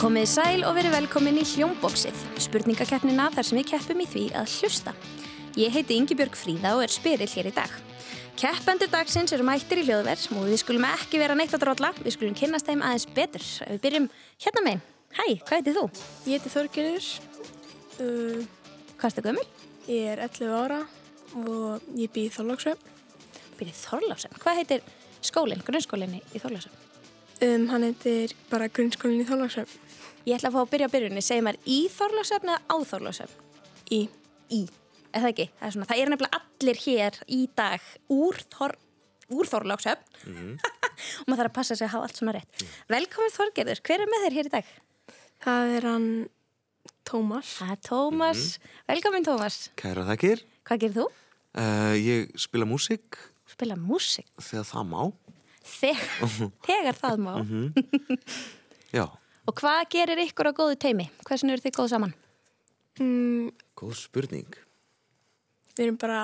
Komið sæl og verið velkomin í Hljómboksið, spurningakeppnina þar sem við keppum í því að hlusta. Ég heiti Ingibjörg Fríða og er spyrill hér í dag. Keppendur dagsins eru mættir í hljóðverð og við skulum ekki vera neitt að drolla, við skulum kynnast þeim aðeins betur. Við byrjum hérna megin. Hæ, hvað heiti þú? Ég heiti Þorgerir, uh, Hvað erstu gömul? ég er 11 ára og ég býð Þorlóksvepp. Byrjið Þorlásson. Hvað heitir skólinn, grunnskólinni í Þorlásson? Um, hann heitir bara grunnskólinni Þorlóksvepp Ég ætla að fá að byrja á byrjunni. Segir maður í Þorlásson eða á Þorlásson? í Í. Er það ekki? Það er, svona, það er nefnilega allir hér í dag úr, Þor, úr Þorlásson. og maður þarf að passa sig að hafa allt svona rétt. Velkomin Þorgerður. Hver er með þér hér í dag? Það er hann Tómas. Það er Tómas. Mhm. Velkomin Tómas. Kæra þakkir. Hvað gerir þú? Uh, ég spila músík Spila músik. þegar það má. Þegar, þegar það má. Já, Og hvað gerir ykkur á góðu teimi? Hversin eru þið góð saman? Mm, góð spurning. við erum bara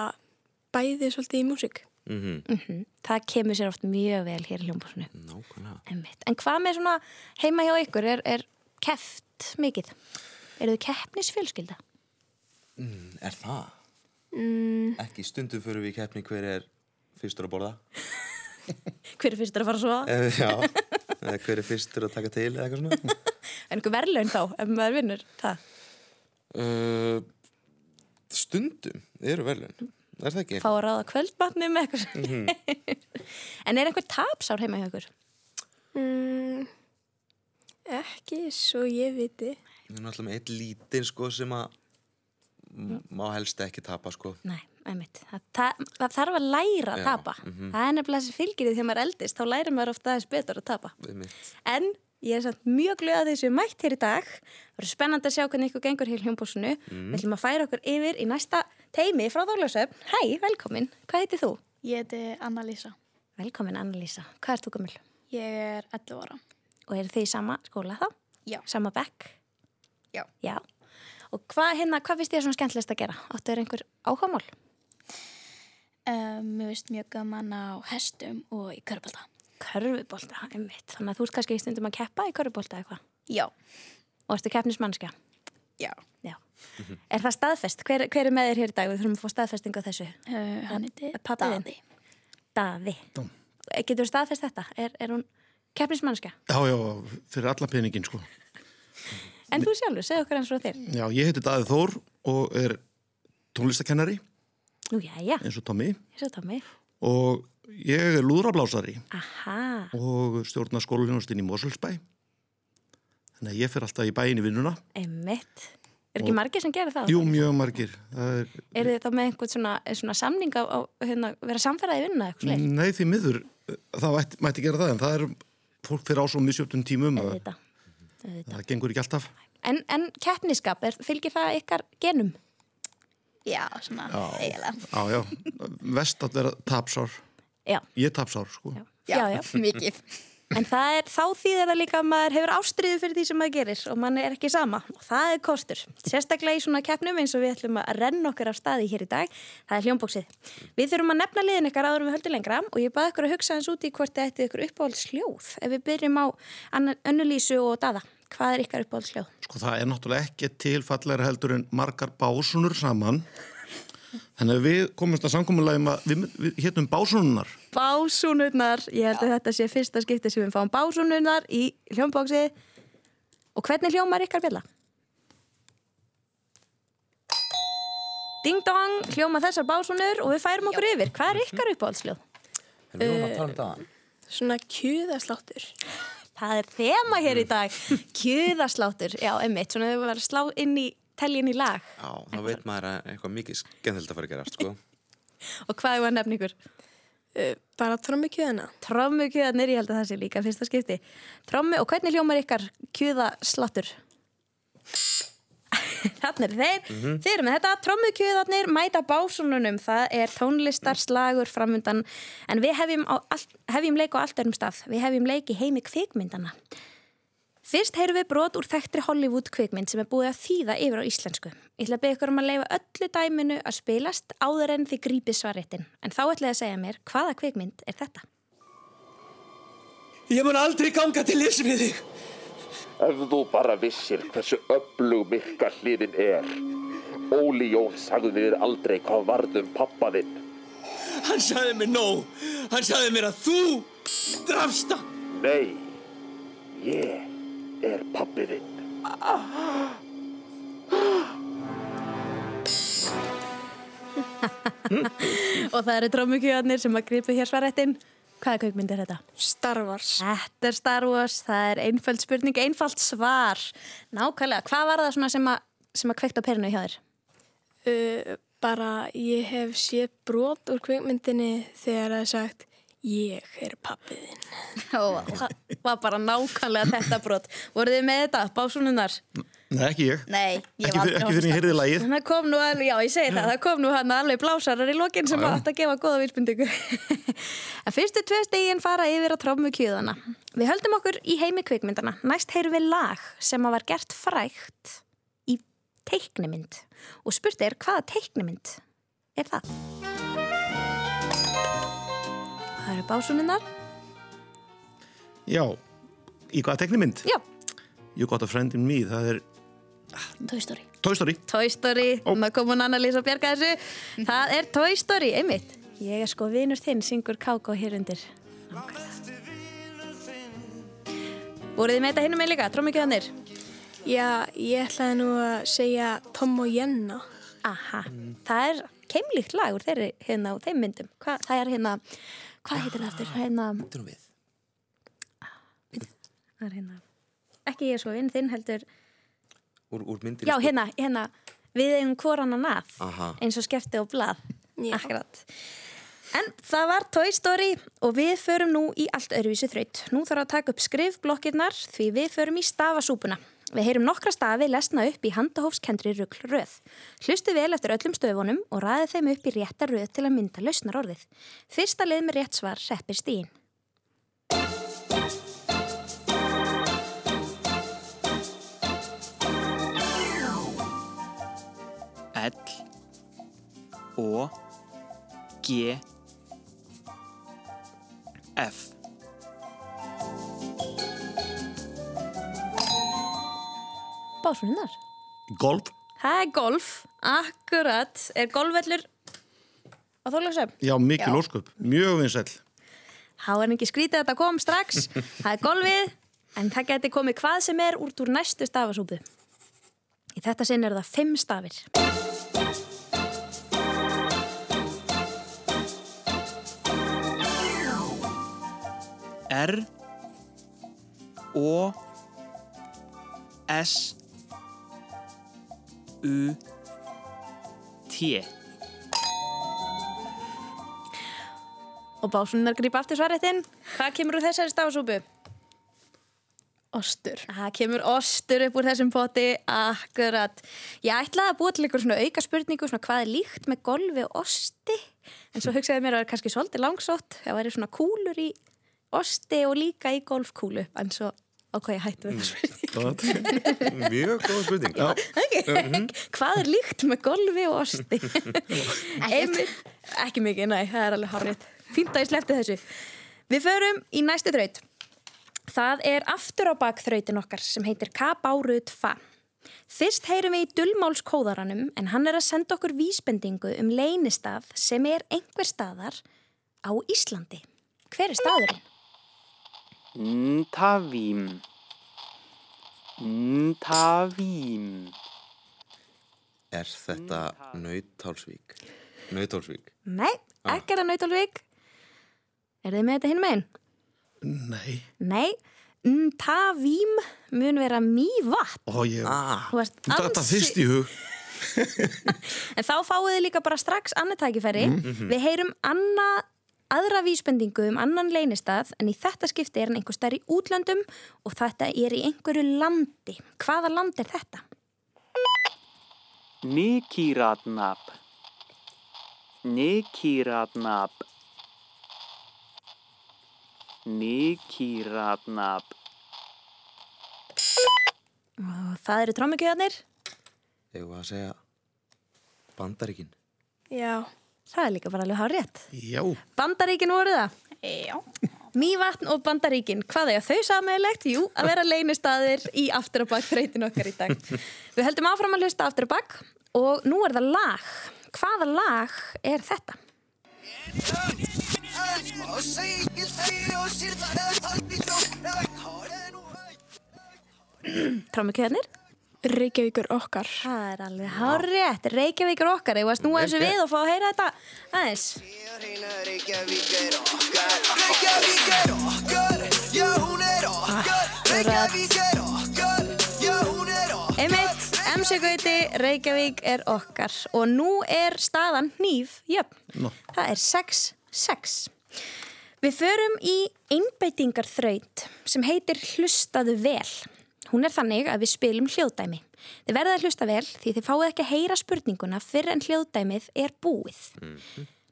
bæðið svolítið í músík. Mm Það kemur sér oft mjög vel hér í hljómbúsinu. Nákvæmlega. Einmitt. En hvað með svona heima hjá ykkur? Er, er keft mikið? Eru þið keppnisfjölskylda? Er það? Ekki stundum fyrir við í keppni hver er fyrstur að borða. Hver er fyrstur að fara svo? Uh, já, eða hver er fyrstur að taka til eða eitthvað svona. En ykkur verðlaun þá, ef maður vinnur það. Uh, stundum eru verðlun. Er það ekki? Fá að ráða kvöldmatni með eitthvað. Mm en er einhver tapsár heima hjá ykkur? Mm, ekki svo ég viti. Við erum alltaf með eitt lítinn sko sem að m- má helst ekki tapa sko. Nei, einmitt. Það, það, það þarf að læra að Já, tapa. Það er nefnilega þessi fylgirið þegar maður eldist, þá lærir maður ofta aðeins betur að tapa. Við mitt. En ég er samt mjög glöð að þessu mætt hér í dag. Það verður spennandi að sjá hvernig ykkur gengur hér hljómbúsinu. Við ætlum að færa okkur yfir í næsta teimi frá Þorljósöfn. Hæ, velkomin. Hvað heitir þú? Ég heiti Anna-Lísa. Velkomin, Annalísa. Hvað ert þú gömul? Ég er 11 ára. Og eru þið í sama skóla þá? Já. Sama bekk? Já. Já. Og hvað hérna, hvað finnst þér svona skemmtilegst að gera? Áttu þér einhver áhugamál? Um, mér finnst mjög gaman á hestum og í körpölda. Körfubólta, einmitt. Þannig að þú ert kannski í stundum að keppa í körfubólta eitthvað. Já. Og ertu keppnismannskja? Já. Já. Er það staðfest? Hver, hver er með þér hér í dag? Við þurfum að fá staðfestingu á þessu. Uh, hann heiti Eh, Pabbi þinn? Daði. Daði. Dum. Getur þú staðfest þetta? Er, er hún keppnismannska? Já, já, fyrir alla peningin sko. En þú sjálfur, segð okkur eins og þér. Já, ég heiti Daði Þór og er tónlistakennari Nú, já, já, eins og Tommy ég svo tómi. og ég er lúðrablásari Aha, og... og stjórnar skólulegustinn í Moselsbæ. Þannig að ég fer alltaf í bæin í vinnuna. einmitt. Er ekki margir sem gerir það? Jú, mjög margir. Það er, Er þið þá með einhvern svona, svona samning á, á hérna, vera samferðaði vinna eitthvað slik? nei, því miður, það mætti, mætti gera það en það er, fólk fyrir á svo misjöfnum tímum að Þetta. það gengur ekki alltaf. En, en keppniskap, er, fylgir það ykkar genum? Já, svona eiginlega. Já, já, vest að vera tapsár. Já. Ég er tapsár, sko. Já. Já, já. Mikið. En það er, þá þýðir það líka að maður hefur ástriðu fyrir því sem maður gerir og mann er ekki sama og það er kostur. Sérstaklega í svona keppnum eins og við ætlum að renna okkar af staði hér í dag, það er hljómbóksið. Við þurfum að nefna liðin ykkar áður en við höldum lengra og ég baði ykkur að hugsa hans út í hvort þið ættu ykkur uppáhaldsljóð. Ef við byrjum á Anna- Önnulísu og Dada, hvað er ykkar uppáhaldsljóð? Sko það er náttúrulega ekki tilfallega heldur en margar básunur saman. Þannig að við komumst að samkominlega um að við, við héttum básununar. Básunurnar, ég held að þetta sé fyrsta skipti sem við fáum básunurnar í hljómbóksið og hvernig hljómar ykkar bjalla? Ding dong, hljóma þessar básunur og við færum okkur yfir. Hvað er ykkar uppáhaldsljóð? En við vorum að tala um það. Svona kjúðasláttur. Það er þema hér í dag, kjöðasláttur, já, emmitt, svona þau var að slá inn í, telja inn í lag Já, þá veit maður að eitthvað mikið skemmtilegt að fara að gera sko. og hvað er að nefna ykkur? Uh, bara trommi kjúðana. Trommu kjöðanir, ég held að það sé líka fyrsta skipti. Trommu og hvernig hljómar ykkar kjöðasláttur? Þannig er þeir. Þeir eru með þetta. Trommu kjöðanir mæta básununum. Það er tónlistarslagur framundan. En við hefjum, á all, hefjum leik á allt örum stað. Við hefjum leik í heimi kvikmyndana. Fyrst heyrum við brot úr þekktri Hollywood kvikmynd sem er búið að þýða yfir á íslensku. Ég ætla að beða ykkur um að leifa öllu dæminu að spilast áður en þið grípið svarréttin. En þá ætla ég að segja mér hvaða kvikmynd er þetta? Ég mun aldrei ganga til liðs við þig. Ef þú bara vissir hversu öflug mikka hliðin er. Óli Jón sagði þér aldrei hvað varðum pappa þinn. Hann sagði mér nóg. Hann sagði mér að þú drafst það. Nei, ég er pappi þinn. Og það eru trómukjöðarnir sem að gripu hér svarættin. Hvaða kveikmynd er þetta? Star Wars. Þetta er Star Wars, það er einföld spurning, einfalt svar. Nákvæmlega, hvað var það svona sem að, sem að kveikt á perinu hjá þér? Uh, bara ég hef séð brot úr kvikmyndinni þegar það er sagt ég er pappiðinn. Og það var bara nákvæmlega þetta brot. Voruð þið með þetta, básununar? Nei, ekki ég. Nei, ég Ekki var aldrei fyrir, ekki fyrir ég horfst á- heyrði lagið. Það kom nú alveg, já ég segi það, það kom nú hann alveg blásarar í lokin sem átt að gefa góða vísbendingu. en fyrstu tvei stegin fara yfir að trómu kjöðana. Við höldum okkur í heimi kvikmyndana. Næst heyrum við lag sem að var gert frægt í teiknimynd. Og spurt er hvaða teiknimynd er það? Það eru básuninnar. Já. Í hvaða teknimynd? Já, You got a friend in me. Það er Toy Story. Toy Story. Toy Story, oh. maður kom hún Anna-Lís og bjarga þessu. Það er Toy Story, einmitt. Mhm. Ég er sko vinur þinn, syngur Káko hér undir. Nákvæmlega. Voruð þið með þetta hinnum með líka, trómikjöðanir? Já, ég ætlaði nú að segja Tom og Jenna. Aha, það er keimlíkt lag úr þeirri hérna á þeim myndum. Hva, það er hérna, hvað heitir það eftir? Hérna, Þetta er nú við. það er hérna, ekki ég er sko vinn þinn heldur. Úr, úr sko. myndir. Já, hérna, hérna, við eigum koran að nað, Aha. eins og skefti og blað. Já. Akkurat. En það var Toy Story og við förum nú í allt öðruvísu þraut. Nú þarf að taka upp skrifblokkinnar því við förum í stafasúpuna. Við heyrum nokkra stafi lesna upp í handahófskendri rugglröð. Hlustu vel eftir öllum stöfunum og ræði þeim upp í rétta röð til að mynda lausnar orðið. Fyrsta lið með rétt svar reppir stíin. L O G F Básunnar. Golf. Það er golf. Akkurat. Er golfvellur á þólagsöfn? Já, mikil Já. ósköp. Mjög vinsæll. þá er ekki skrítið að þetta kom strax það er golfið en það geti komið hvað sem er út úr næstu stafasúpu í þetta sinn eru það fimm stafir R O S U T og básunar grípa aftur svaretinn hvað kemur úr þessari stafasúpu? Ostur. Það kemur ostur upp úr þessum poti, akkurat. Ég ætlaði að búa til einhver svona auka spurningu, svona hvað er líkt með golfi og osti, en svo hugsaði mér að það er kannski svolítið langsótt, það væri svona kúlur í osti og líka í golfkúlu, en svo ákvæði ég hættu við það spurningu. Gott. hérna. Mjög góð spurning. Já. hvað er líkt með golfi og osti? Einmitt, ekki mikið, næ, það er alveg horrið. Fínt að ég sleppti þessu. Við förum í næstu þraut. Það er aftur á bak þrautin okkar sem heitir K-Bárut Fa. Fyrst heyrum við í dullmálskóðaranum en hann er að senda okkur vísbendingu um leynistaf sem er einhver staðar á Íslandi. Hver er staðurinn? Ntavím Ntavím Er þetta Nautálsvík? Nautálsvík. Nei, ekki er það Nautalvík. Er þið með þetta hinn meginn? Nei. Nei, Ntavím mun vera mývatt. Ó, ég... Ah, Þú varst Þetta fyrst ansi... í hug. En þá fáið þið líka bara strax annað tækifæri. Mhm. Við heyrum anna, aðra vísbendingu um annan leynistað en í þetta skipti er hann einhver stær í útlöndum og þetta er í einhverju landi. Hvaða land er þetta? Nikiratnap Nikiratnap Nikiratnap Og það eru trómikjöðanir. eigum við að segja Bandaríkin. Já, Það er líka bara alveg hár rétt. Já. Bandaríkin voru það. Já. Mývatn og Bandaríkin, hvað er þau sammeðilegt? Jú, að vera leynistaðir í afturabak þreytin okkar í dag. Við höldum áfram að hlusta afturabak og nú er það lag. Hvaða lag er þetta? Trámukjöðnir? Reykjavíkur okkar. Það er alveg hárétt, Reykjavíkur okkar, ég varst nú eins og við og fá að heyra þetta aðeins. Einmitt, MC Gauti, Reykjavík er okkar og nú er staðan hníf, jöfn, það er 6-6. Við förum í einbeitingarþraut sem heitir Hlustaðu vel. Hún er þannig að við spilum hljóðdæmi. Þið verða að hlusta vel því þið fáið ekki að heyra spurninguna fyrr en hljóðdæmið er búið.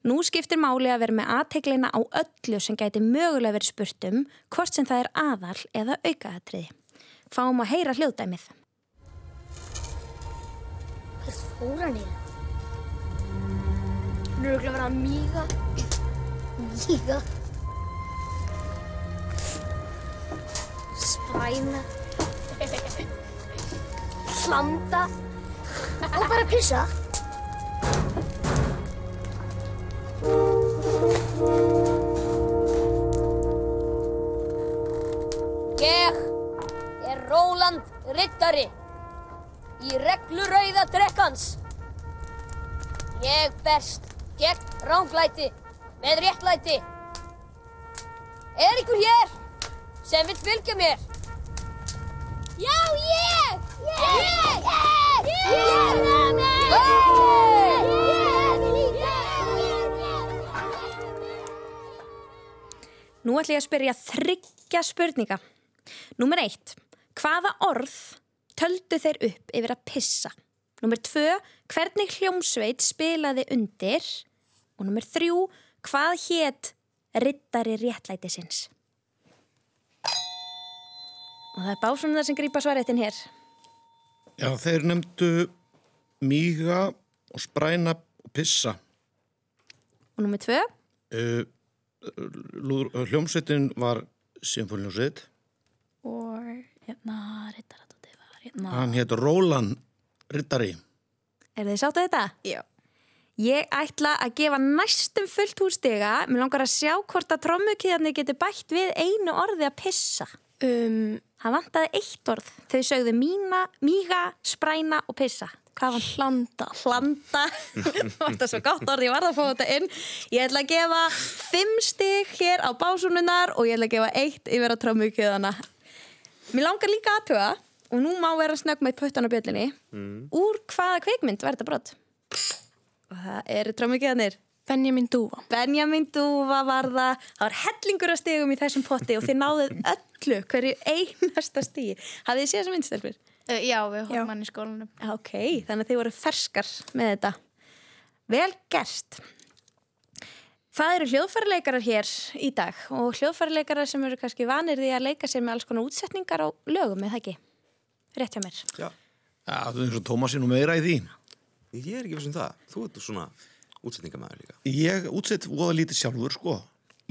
Nú skiptir máli að vera með aðteglina á öllu sem gæti mögulega verið spurt um, hvort sem það er aðal eða aukaatriði. Fáum að heyra hljóðdæmið. Hvert fór hann í? Hann er auðvitað að vera að míga. Míga. Spræna. Hlanda. Og bara pissa. Ég er Róland Rittari í reglurauða drekkans. Ég berst gegn ránglæti með réttlæti. Er ykkur hér sem vill fylgja mér? Já, ég! Ég! Ég! Ég! Ég! Ég! Ég! Ég! Ég! Nú ætlum ég að spyrja þryggja spurninga. Númer eitt, hvaða orð töldu þeir upp yfir að pissa? Númer tvö, hvernig hljómsveit spilaði undir? Og númer þrjú, hvað hétt rittari réttlætisins? Og það er básunar sem grýpa svarettin hér. Já, þeir nefndu míga og spræna og pissa. Og númer tvö, Uh, lúður, hljómsveitin var symfónljósveit. Og hérna, rittaradóti var hérna. Hann hétt Rólan Rittari. er þið sáttu þetta? Já. Ég ætla að gefa næstum fullt hústiga. Mér langar að sjá hvort að trommukíðarnir getur bætt við einu orði að pissa. Um, Það vantaði eitt orð. Þau sögðu mína, míga, spræna og pissa. Hvað var Hlanda. hlanda? Þetta er svo gott orð, ég varð að fá þetta inn. Ég ætla að gefa fimm stig hér á básununar og ég ætla að gefa eitt yfir á trómukjöðana. Mér langar líka aðtuga og nú má vera snögg með puttan á bjöllinni. Úr hvaða kveikmynd var þetta brot? Og það eru trómukjöðanir. Benjamin Dúa. Benjamin Dúfa var það það var hellingur að stigum í þessum potti og þið náðuð öllu hverju einasta stigi hafið þið séð þessum myndstelfur? Uh, já, við horfum hann í skólanum. Ok, þannig að þið voru ferskar með þetta vel gerst Það eru hljóðfæraleikarar hér í dag og hljóðfæraleikarar sem eru kannski vanir því að leika sér með alls konar útsetningar á lögum eða ekki? Rétt hjá mér Já, Já, það er eins og Tómas er nú meira í því. ég er ekki fyrir sem það. Þú ert svona útsetningamæður líka. Ég útsett voða lítið sjálfur, sko.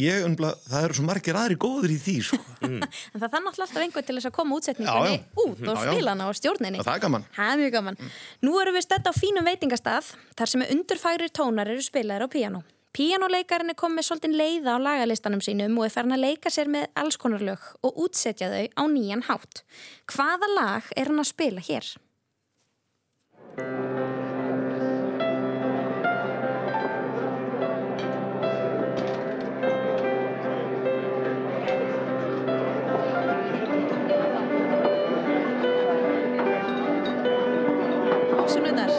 Ég umbla, það eru svo margir aðri góður í því, sko. En það þarf náttúrulega alltaf einhver til þess að koma útsetningunni Já, já. út og Já, já. spila hana og stjórninni. Það er gaman. Mm. Það er mjög gaman. Nú erum við stödd á fínum veitingastað þar sem undurfærir tónar eru spilaðir á píanó. Píanóleikarinn er komið svolítið leiða á lagalistanum sínum og er farin að leika sér með alls konar lög og útsetja þau á nýjan hátt. Hvaða lag er hann að spila hér? Ásununar,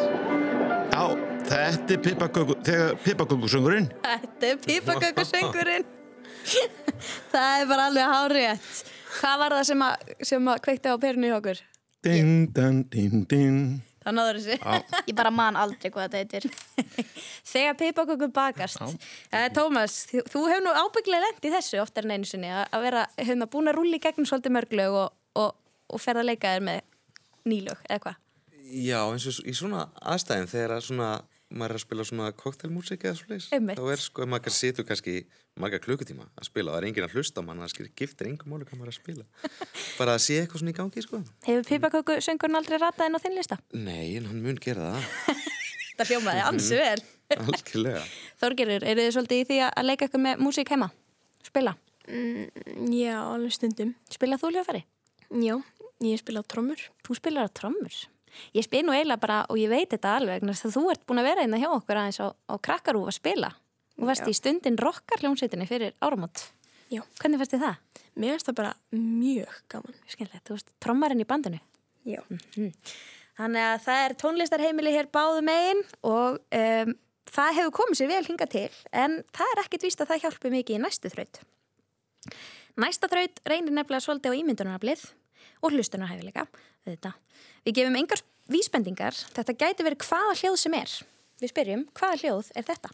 Já, þetta er pipaköku, þegar pipakökusöngurinn. þetta er pípakökusöngurinn. það er bara alveg hárétt. Hvað var það sem að, sem að kveikta á perinu í okkur? Ding, dang, ding, ding. Það náður þessi. Ég bara man aldrei hvað þetta heitir. Þegar pipakökur bakast eh, Tómas, þú, þú hefur nú ábygglega lent í þessu oftar en einu sinni að að vera hefna búin að rúli í gegnum svolítið mörglög og, og, og ferð að leika þér með nýlög eða hvað Já, eins og s- í svona aðstæðin þegar að svona maður er að spila svona koktelmúsík eða svoleiðis, Einmitt. þá er sko, ef maður situr kannski marga klukkutíma að spila, það er enginn að hlusta á mann, það skil giftir engum máli hvað maður er að spila. Bara að sé eitthvað svona í gangi, sko. Hefur pipaköku söngurinn aldrei ratað inn á þinn lista? Nei, en hann mun gera það, Það hljómaði ansu vel. algjörlega. Þorgerur, eru þið svolítið í því að leika ykkur með músík heima? Spila? Já, alveg stundum. Spila þú hljóðfæri? Já, ég spila á trommur. Þú spilar á trommur. Ég spil nú eiginlega bara, og ég veit þetta alveg, vegna þess að þú ert búin að vera einna hjá okkur aðeins á, á krakkarúf að spila. Þú varst í stundin rockar hljómsveitinni fyrir áramót. Já. Hvernig fyrst þið það? Mér finnst það bara mjög gaman. Skilvægt, þú varst trommarinn í bandinu. Já. Þannig að það er tónlistarheimili hér báðum einn og um, það hefur komið sér vel hinga til en það er ekkit víst að það hjálpi mikið í næstu þraut. Næsta þraut reynir nefnilega svolítið á ímyndunaraflið og hlustunarhæfileika. Þetta. Við gefum engar vísbendingar, þetta gæti verið hvaða hljóð sem er. Við spyrjum, hvaða hljóð er þetta?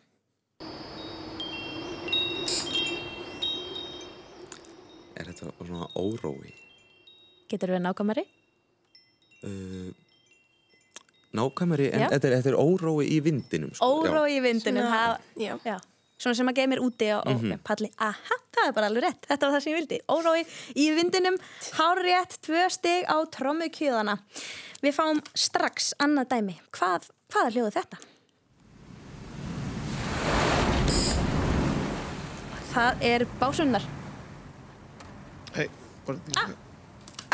Er þetta svona órói? Getur við nákvæmari? Nákvæmari, en Já. þetta er, þetta er órói í vindinum, sko. Óró í vindinu, það, Ah, Já. Já. Svona sem að geða mér úti og, og palli, aha, það er bara alveg rétt, þetta var það sem ég vildi. Órói í vindinum, hárétt, tvö stig á trommu kjöðana. Við fáum strax annað dæmi. Hvað, hvað er hljóðu þetta? Það er básunnar. Hei, bara...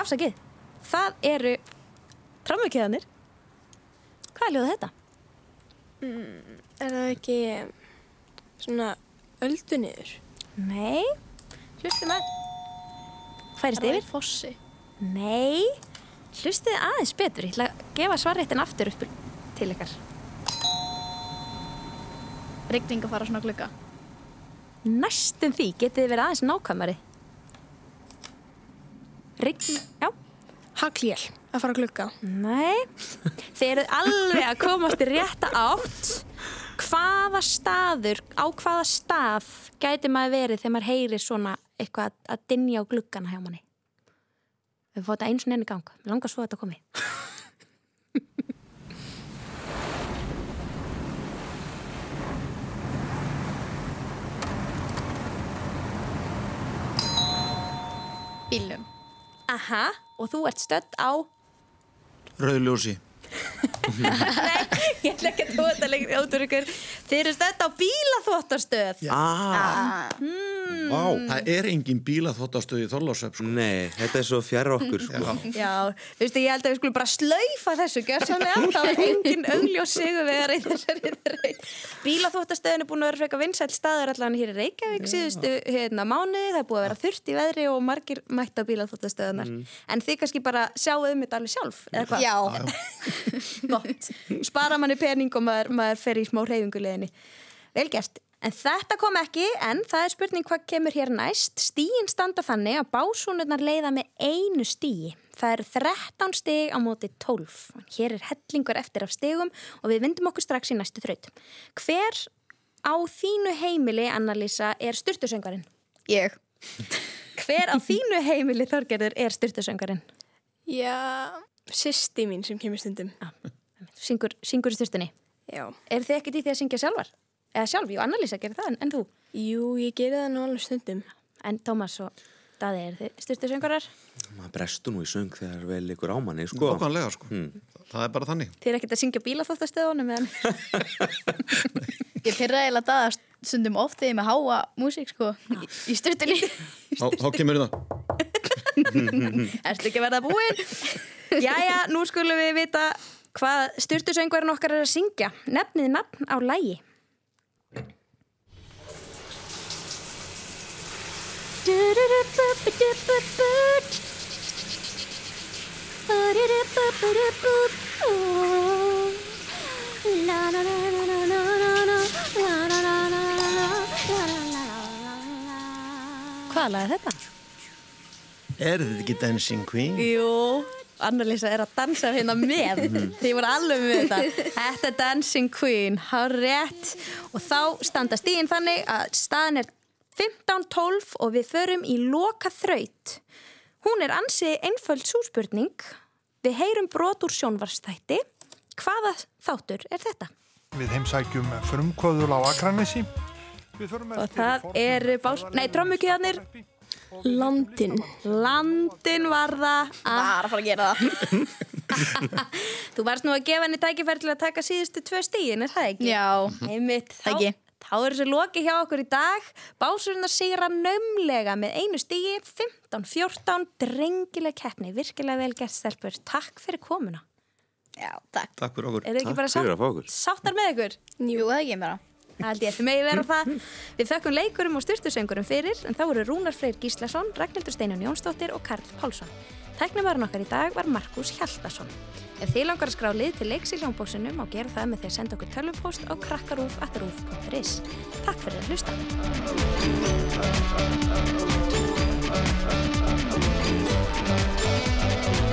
Afsakið, það eru trommukjöðanir. Hvað er hljóðu þetta? Er það ekki svona öldu niður? Nei, hlustum að... Færist Það yfir. er fossi. Nei, hlustið aðeins betur. Ég ætla að gefa svarréttin aftur upp til ykkar. Rigning að fara svona glugga. Næstum því getið þið verið aðeins nákvæmari. Rign, já, Hagljél. Að fara að glugga. nei. Þið eruð alveg að komast í rétta átt. Hvaða staður, á hvaða stað gæti maður verið þegar maður heyrir svona eitthvað að, að dinja á gluggana hjá manni? Við fóðum þetta eins og enn í gang. Mér langar svo að þetta komi. Bílum. Aha, og þú ert stödd á Rauðljósi. Ég ætla ekki að tóa þetta lengur át úr ykkur. Þið eru stödd á bílaþvottastöð. Ah. Ah. Vá. Það er engin bíla þóttastöð í Þorlásöf, sko. Nei, þetta er svo fjara okkur, sko. Já, þú veist, ég held að við skulum bara slaufa þessu, gjörsamlega. Það var engin augljós sigurvegar í þessari þraut. Bílaþvottastöðin er búin að vera frekar vinsæl staður allan hér í Reykjavík síðustu hérna mánuði. Það er búið að vera þurrt í veðri og margir mætt á bílaþvottastöðunar. En þið kannski bara sjáu um þetta alveg sjálf, eða hvað? já. gott spara manni pening og maður, maður fer í smá reyfinguleginni vel gert en þetta kom ekki en það er spurning hvað kemur hér næst stíin standa þannig að básúnurnar leiða með einu stíi það eru 13 stig á móti 12 hér er hellingur eftir af stigum og við vindum okkur strax í næstu þraut hver á þínu heimili Annalisa er styrtusöngarinn Ég. hver á þínu heimili Þorgerður er styrtusöngarinn Já. Sýsti mín sem kemur stundum. syngur, syngur í styrstunni Já. Er þið ekkert í því að syngja sjálfar? Eða sjálf, jú, Annalisa gerir það en, en þú. Jú, ég geri það nú alveg stundum. En Tómas og Daði, er þið styrstu söngarar? Maður brestur nú í söng þegar vel ykkur á manni, sko. Ókvæmlega, sko. Það er bara þannig. Þið er ekkert að syngja bílaþóttastöðunum eðan. Ég pyrra eiginlega það að stundum oft þegar ég er með háa músík sko í, í styrtunni. Þá, þá kemur hérna. það. Ertu ekki að verða búinn? Jæja, nú skulum við vita hvað styrstu söngarinn okkar er að syngja. Nefnið nafn á lægi. Hvaða lag er þetta? Er þetta ekki Dancing Queen? Jú, Annalisa er að dansa hérna með Þið voru alveg með þetta Þetta er Dancing Queen, hár rétt Og þá standa stíðin þannig að staðan er 15-12 og við förum í loka þraut Hún er ansið einföld súspurning Við heyrum brot úr sjónvarstætti Hvaða þáttur er þetta? Við heimsækjum frumkvöðul á Akranesi. Við förum Og það eru bás... Nei, trommukjöðanir. Landin. Landin var það. Var að fara að gera það. Þú varst nú að gefa henni tækifæri til að taka síðustu tvö stígin, er það ekki? Já. Mm. Einmitt, þá, Ekki. þá er þessu loki hjá okkur í dag. Básurinn að sigra nömlega með einu stígi, 15-14, drengileg keppni. Virkilega vel gert, Stelbur. Takk fyrir komuna. Já, takk. Takk fyrir okkur. Er þið ekki bara sátt, sáttar með ykkur? Jú, það ekki bara. Það held ég að þið megi vera það. Við þökkum leikurum og styrtusöngurum fyrir, en þá eru Rúnar Freyr Gíslason, Ragnhildur Steinun Jónsdóttir og Karl Pálsson. Tæknumæðurinn okkar í dag var Markus Hjaldason. Ef þið langar að skrá lið til leiks í hljómbóksinum má gera það með því að senda okkur tölvupóst á krakkarúf.ruf.is. Takk fyrir að hlusta. að...